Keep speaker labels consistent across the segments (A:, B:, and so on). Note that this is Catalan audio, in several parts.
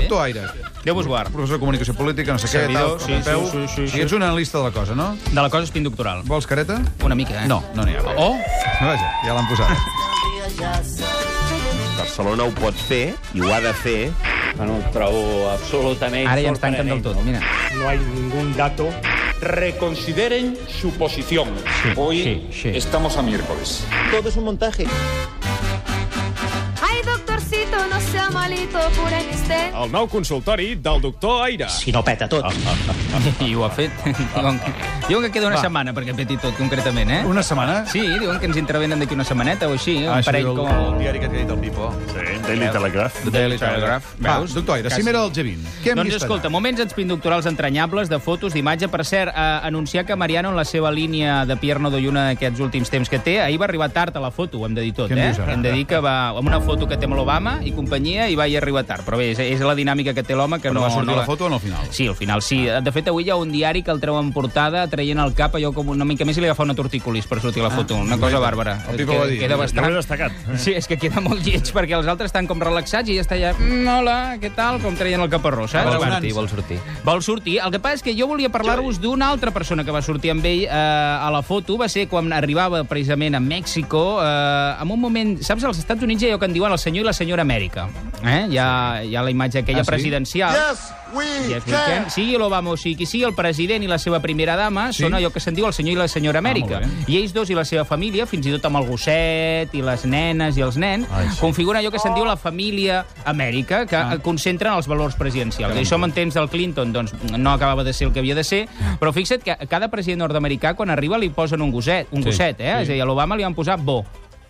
A: Tuaire.
B: Déu vos guard.
A: Professor de Comunicació Política, no sé què,
B: Servidor,
A: tal,
B: sí,
A: com
B: sí, sí, sí,
A: I
B: sí.
A: ets un analista de la cosa, no?
B: De la cosa espin doctoral.
A: Vols careta?
B: Una mica, eh?
A: No, no n'hi ha.
B: Oh!
A: Vaja, ja l'han posat.
C: Barcelona ho pot fer i ho ha de fer.
D: Bueno, ho trobo absolutament
B: Ara ja ens tanquen del tot, mira.
E: No hay ningún dato.
F: Reconsideren su posición. Hoy
B: sí, sí.
F: estamos a miércoles.
C: Tot és un montatge.
G: Ay, doctorcito, no sea malito, por en usted.
H: El nou consultori del doctor Aire.
D: Si no peta tot.
B: I ho ha fet. Diuen que, diuen que queda una setmana perquè peti tot, concretament, eh?
A: Una setmana?
B: Sí, diuen que ens intervenen d'aquí una setmaneta o així,
A: Ah,
B: un
A: això
B: parell
A: diu el, el
B: com...
A: diari que t'ha dit el Pipo.
H: Sí, Daily Telegraph.
B: The Daily Telegraph.
A: Va,
B: Veus?
A: doctor Aire,
B: Quasi.
A: cimera del G20. Què hem
B: Doncs
A: vist
B: escolta, moments espinductorals entranyables de fotos, d'imatge. Per cert, eh, anunciar que Mariano, en la seva línia de Pierno de Lluna d'aquests últims temps que té, ahir va arribar tard a la foto, ho hem de dir tot,
A: Què en
B: eh?
A: dius ara?
B: Hem de dir que va amb una foto que té amb l'Obama i companyia i va hi arribar tard. Però bé, és, és la dinàmica que té l'home que
A: Però
B: no...
A: va sortir
B: no
A: la foto o no al final?
B: Sí, al final sí. Eh, De fet, avui hi ha un diari que el treu en portada traient el cap allò com una mica més i li agafa una tortícolis per sortir a la foto. una cosa bàrbara.
A: Ah, El Pipo va dir.
B: Queda
H: Ja ho
B: bastant...
H: he destacat.
A: eh.
B: Sí, és que queda molt lleig, perquè els altres estan com relaxats i ja està allà, "Mm, hola, què tal, com treien el caparró, saps?
A: Vol
B: Abans.
A: sortir, vol
B: sortir. Vol sortir. El que passa és que jo volia parlar-vos d'una altra persona que va sortir amb ell eh, a la foto. Va ser quan arribava precisament a Mèxico, eh, en un moment... Saps, als Estats Units hi ha allò que en diuen el senyor i la senyora Amèrica. Eh? Hi, ha, hi ha la imatge aquella
A: Ah, sí?
B: presidencial. Yes, we can. Sigui l'Obama o sigui qui sigui, el president i la seva primera dama
A: Sí.
B: sí? són allò que se'n diu el senyor i la senyora Amèrica.
A: Ah, molt
B: I ells dos i la seva família, fins i tot amb el gosset i les nenes i els nens,
A: Ai,
B: Ai,
A: sí.
B: sí. configuren allò que se'n diu la família Amèrica, que
A: Ah.
B: ah. concentren els valors presidencials. I això en temps del Clinton doncs, no acabava de ser el que havia de ser, però fixa't que a cada president nord-americà, quan arriba, li posen un gosset, un
A: Sí,
B: sí, gosset eh?
A: sí.
B: Sí. És a dir, a l'Obama li van posar bo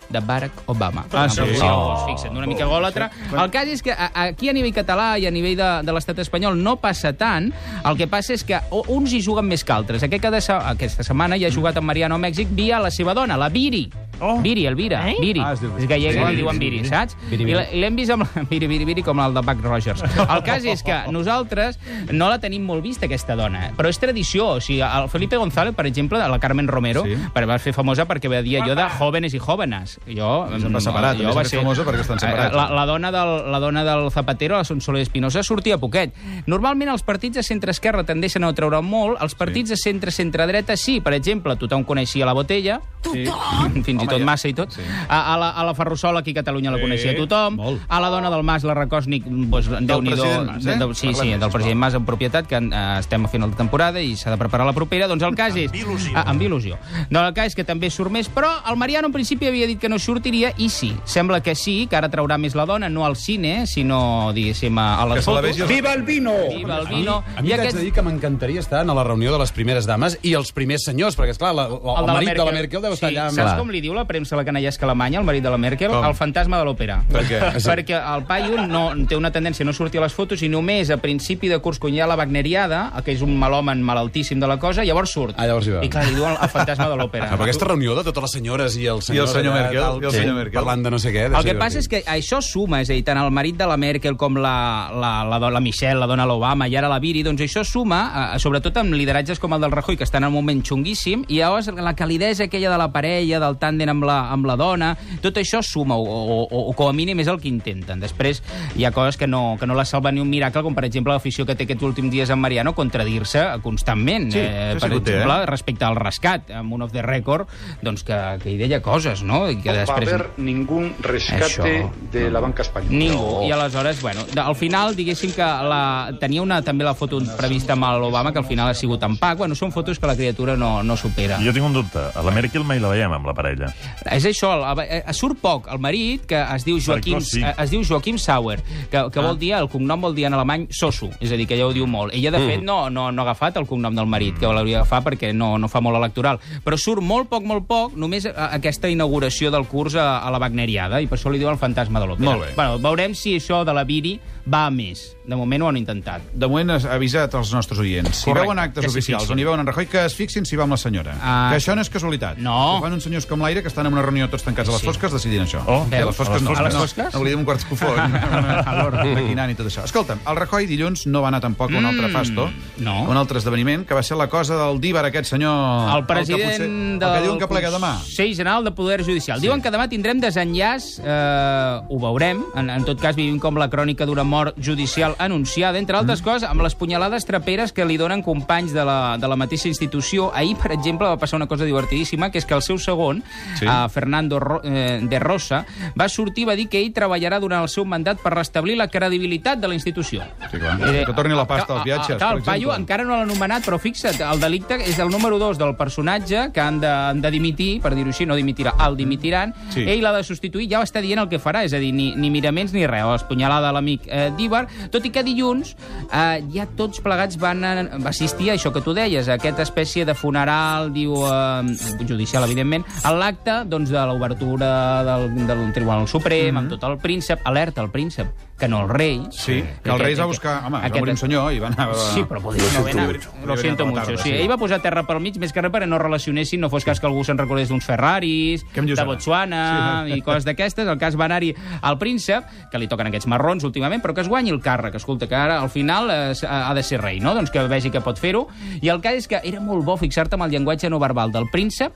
B: de Barack Obama.
A: Ah, sí?
B: Sí,
A: Oh.
B: doncs, fixa't, una mica gòlatra. El cas és que a- aquí a nivell català i a nivell de, de l'estat espanyol no passa tant. El que passa és que o- uns hi juguen més que altres. Aquest cada se aquesta setmana ja ha jugat amb Mariano a Mèxic via la seva dona, la Viri.
H: Oh.
B: Viri, Elvira. Eh? Viri.
A: Ah,
B: Ah,
A: es diu Viri.
B: és gallega,
A: Sí.
B: li diuen Viri, saps?
A: Viri,
B: I
A: Viri.
B: la- I l'hem vist amb la... Viri, Viri, Viri, com el de Buck Rogers. El cas és que nosaltres no la tenim molt vista, aquesta dona. Però és tradició. O sigui, el Felipe González, per exemple, la Carmen Romero,
A: Sí.
B: sí. va fer famosa perquè va dir allò de jóvenes i jóvenes. Jo,
A: Se'n va separar, també
B: jo
A: s'ha
B: va
A: fet
B: ser... Eh,
A: famosa perquè estan separats.
B: La, la, dona del, la dona del Zapatero, la Sonsoler Espinosa, sortia poquet. Normalment els partits de centre-esquerra tendeixen a treure molt, els partits sí. de centre-centre-dreta sí. Per exemple, tothom coneixia la Botella, sí. fins i
A: Home,
B: tot
A: ja.
B: massa i tot.
A: Sí.
B: Sí. A, a, la, a la Ferrusola, aquí a Catalunya la
H: Sí,
B: coneixia tothom.
A: molt.
B: A la dona del Mas, la Racòsnic, doncs, Déu-n'hi-do.
A: president Mas, eh?
B: de- de- Sí, sí,
A: Parlem,
B: del president Mas en propietat, que eh, estem a final de temporada i s'ha de preparar la propera. Doncs el cas és... Amb il·lusió. Ah, amb il·lusió. Doncs el cas és que també surt més, però el Mariano en principi havia dit que no sortiria i sí. Sembla que sí, que ara traurà més la dona, no al cine, sinó, diguéssim, a a les
A: Que se la
B: fotos.
A: vegi a les- Viva
B: el vino! Viva el vino.
I: A mi
B: I
I: t'haig
B: aquest-
I: de dir que m'encantaria estar a la reunió de les primeres dames i els primers senyors, perquè, esclar, la, la, el,
B: de la
I: marit de la Merkel deu estar
B: sí,
I: allà... amb-
B: Saps com li diu la premsa a la canallesca alemanya, el marit de la Merkel?
A: Com?
B: El fantasma de l'òpera.
A: Per què?
B: Perquè el paio no, té una tendència a no sortir a les fotos i només a principi de curs, quan hi ha la wagneriada, que és un malhomen malaltíssim de la cosa, llavors surt.
I: Ah, llavors hi va.
B: I clar, li diuen el fantasma de l'òpera.
I: Ah, però aquesta reunió de totes les senyores i el senyor,
A: senyor Merkel, i el
I: sí,
A: senyor Merkel.
I: parlant de no sé
A: eh,
I: què... deu
B: El
I: ser
B: que passa és
I: divertit.
B: que això suma, és a dir, tant el marit de la Merkel com la, la, la, do- la Michelle, la dona l'Obama i ara la Viri, doncs això suma, eh, sobretot amb lideratges com el del Rajoy, que estan en un moment xunguíssim, i llavors la calidesa aquella de la parella, del tàndem amb la, amb la dona, tot això suma, o, o, o, o com a mínim és el que intenten. Després hi ha coses que no, que no la salva ni un miracle, com per exemple l'afició que té aquests últims dies en Mariano contradir-se constantment.
A: Sí, això sí
B: per
A: que ho té, eh?
B: exemple, respecte al rescat, amb un off the record, doncs que, que hi deia coses, no? I que
F: No va a
B: després...
F: haber ningún rescate
B: Eso,
F: de la banca española.
B: Ningú. I aleshores, bueno, de- al final, diguéssim que la, tenia una, també la foto prevista amb l'Obama, que al final ha sigut en pac. Bueno, són fotos que la criatura no, no supera.
H: Jo tinc un dubte. A la Merkel mai la veiem amb la parella.
B: És això, el, eh, surt poc el marit, que es diu Joaquim,
H: Sarkozy.
B: eh, es diu Joaquim Sauer, que, que
A: Ah.
B: vol dir, el cognom vol dir en alemany Soso, és a dir, que ja ho diu molt. Ella, de
A: Mm.
B: fet, no, no, no ha agafat el cognom del marit, que l'hauria d'agafar perquè no, no fa molt electoral. Però surt molt poc, molt poc, només a- aquesta inauguració del curs a, a la Wagneriada, i per això li diuen el fantasma de l'òpera.
A: Molt bé.
B: Bueno, veurem si això de la Viri va a més. De moment ho han intentat.
A: De moment has avisat els nostres oients. Si
B: Correcte,
A: veuen actes
B: que s'hi
A: oficials
B: fixin.
A: on hi veuen en Rajoy, que es fixin si va amb la senyora.
B: Ah.
A: Que això no és casualitat.
B: No.
A: Ho fan uns senyors com l'aire que estan en una reunió tots tancats a les
B: Sí.
A: fosques decidint això.
H: Oh,
A: I a les
B: veus?
A: fosques
H: A les
A: no.
H: fosques?
A: no,
B: A les fosques?
A: No, oblidem un quart escofó. Maquinant i tot això. Escolta'm, el Rajoy dilluns no va anar tampoc a un altre
B: Mm,
A: fasto,
B: no.
A: a un altre esdeveniment, que va ser la cosa del díbar aquest senyor...
B: El president
A: el que, potser,
B: del
A: el que diuen que plega demà.
B: Consell General de Poder Judicial. Diuen que demà tindrem desenllaç, eh, ho veurem, en, en tot cas vivim com la crònica dura mort judicial anunciada, entre altres
A: Mm-hmm.
B: mm. coses, amb les punyalades traperes que li donen companys de la, de la mateixa institució. Ahir, per exemple, va passar una cosa divertidíssima, que és que el seu segon, sí.
H: Sí.
B: eh, Fernando Ro eh, de Rosa, va sortir i va dir que ell treballarà durant el seu mandat per restablir la credibilitat de la institució.
A: Sí, clar.
B: Eh,
A: Que torni la pasta
B: ah,
A: als viatges,
B: ah, Clar,
A: per
B: el paio
A: exemple.
B: encara no l'ha anomenat, però fixa't, el delicte és el número 2 del personatge que han de, han de dimitir, per dir-ho així, no dimitirà, el dimitiran.
A: Sí.
B: Sí. Ell l'ha de substituir, ja està dient el que farà, és a dir, ni, ni miraments ni res, l'espunyalada a l'amic eh, d'Ibar, tot i que dilluns eh, ja tots plegats van a- assistir a això que tu deies, a aquesta espècie de funeral, diu, eh, judicial, evidentment, a l'acte doncs, de l'obertura del, del Tribunal Suprem, mm -hmm. amb
A: Mm-hmm.
B: tot el príncep, alerta el príncep, que no el rei.
A: Sí, que el rei es va buscar... Home, es va morir un senyor i va anar...
B: Sí, però podria no haver anat. Lo siento mucho. Sí, ell va posar terra pel mig, més que res, perquè no relacionessin, no fos cas que algú se'n recordés d'uns Ferraris,
A: Què em dius
B: de
A: ara?
B: Botswana
A: Sí.
B: i coses d'aquestes. El cas va anar-hi al príncep, que li toquen aquests marrons últimament, però que es guanyi el càrrec. Escolta, que ara al final eh, s- ha de ser rei, no? Doncs que vegi que pot fer-ho. I el cas és que era molt bo fixar-te amb el llenguatge no verbal del príncep,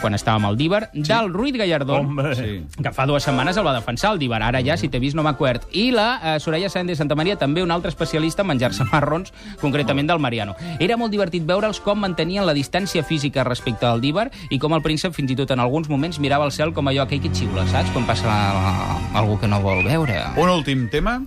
B: quan estava amb el Díbar, sí. del Ruiz Gallardón,
H: Home.
A: Sí.
B: que fa dues setmanes el va defensar el Dibar, ara ja, si t'he vist, no m'ha coert. I la eh, Soraya Sáenz de Santa Maria, també una altra especialista en menjar-se marrons, concretament del Mariano. Era molt divertit veure'ls com mantenien la distància física respecte al Dibar i com el príncep, fins i tot en alguns moments, mirava el cel com allò aquell que xiula, saps? Quan passa la, la, algú que no vol veure.
A: Un últim tema,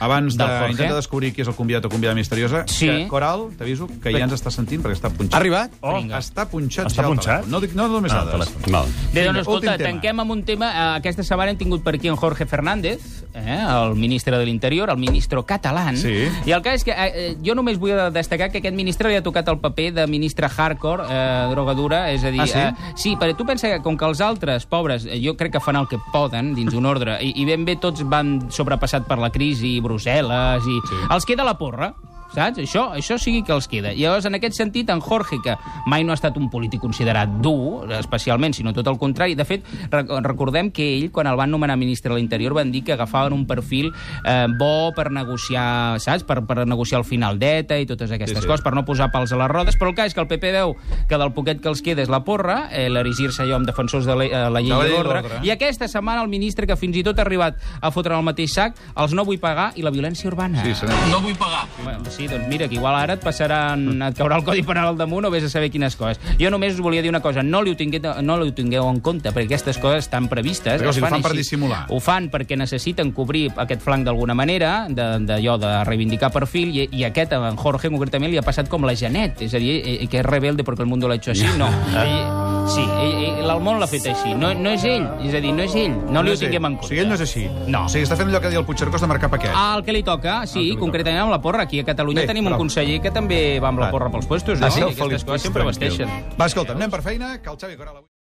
A: abans
B: Del Jorge.
A: d'intentar descobrir qui és el convidat o convidada misteriosa.
B: Sí.
A: Que Coral, t'aviso, que ja ens està sentint perquè està punxat.
I: Ha arribat?
A: Oh. Està punxat
H: Està
A: ja el
H: punxat?
A: telèfon. No, dic, no només
H: Ah, el
A: dades.
H: telèfon.
I: Val.
B: Bé,
A: Vinga,
B: doncs, escolta,
A: últim tema.
B: tanquem amb un tema. Eh, Aquesta setmana hem tingut per aquí en Jorge Fernández, eh, el ministre de l'Interior, el ministre català.
A: Sí.
B: I el cas és que eh, eh, jo només vull destacar que aquest ministre li ha tocat el paper de ministre hardcore, eh, droga dura, és a dir...
A: Ah, sí?
B: Eh, sí, perquè tu pensa que com que els altres, pobres, eh, jo crec que fan el que poden dins d'un ordre, i, i ben bé tots van sobrepassat per la crisi, i Brussel·les, i... Sí. Els queda la porra. Saps? Això, això sigui que els queda. I llavors, en aquest sentit, en Jorge, que mai no ha estat un polític considerat dur, especialment, sinó tot el contrari. De fet, rec recordem que ell, quan el van nomenar ministre de l'Interior, van dir que agafaven un perfil eh, bo per negociar, saps? Per, per negociar el final d'ETA i totes aquestes
A: Sí,
B: sí,
A: sí.
B: sí. coses, per no posar pals a les rodes. Però el cas és que el PP veu que del poquet que els queda és la porra, eh, l'erigir-se allò amb defensors de la, eh, la
A: De la
B: llei
A: llei
B: i
A: i
B: l'ordre.
A: l'ordre.
B: I aquesta setmana el ministre, que fins i tot ha arribat a fotre en el mateix sac, els no vull pagar i la violència urbana.
A: Sí, senyor.
B: No vull pagar. Bueno, sí, doncs mira, que igual ara et passaran, et caurà el codi penal al damunt o vés a saber quines coses. Jo només us volia dir una cosa, no li ho, tingueu, no li ho tingueu en compte, perquè aquestes coses estan previstes.
A: Perquè, o sigui,
B: es
A: ho fan per
B: així.
A: dissimular.
B: Ho fan perquè necessiten cobrir aquest flanc d'alguna manera, de- d'allò de, de reivindicar perfil, i, i aquest, a en Jorge concretament, li ha passat com la Janet, és a dir, eh, que és rebelde perquè el mundo l'ha hecho així, no. Ell- Sí, ell- ell- el món l'ha fet així. No, no és ell, és a dir, no és ell. No li ho
A: és ell.
B: tinguem en compte.
A: O sigui, ell no és així.
B: No.
A: O sigui, està fent allò que deia el Puigcercós de marcar paquet.
B: Ah, el que li toca,
A: El que
B: sí,
A: li
B: concretament amb la porra. Aquí a Catalunya
A: Bé,
B: tenim
A: bravo.
B: un conseller que també va amb la
A: Ah.
B: porra pels puestos, no?
A: Ah, sí?
B: I
A: Felip
B: aquestes
A: Puig,
B: coses sempre
A: tranquil.
B: vesteixen.
A: Va, escolta, anem per feina, que el Xavi Coral... avui-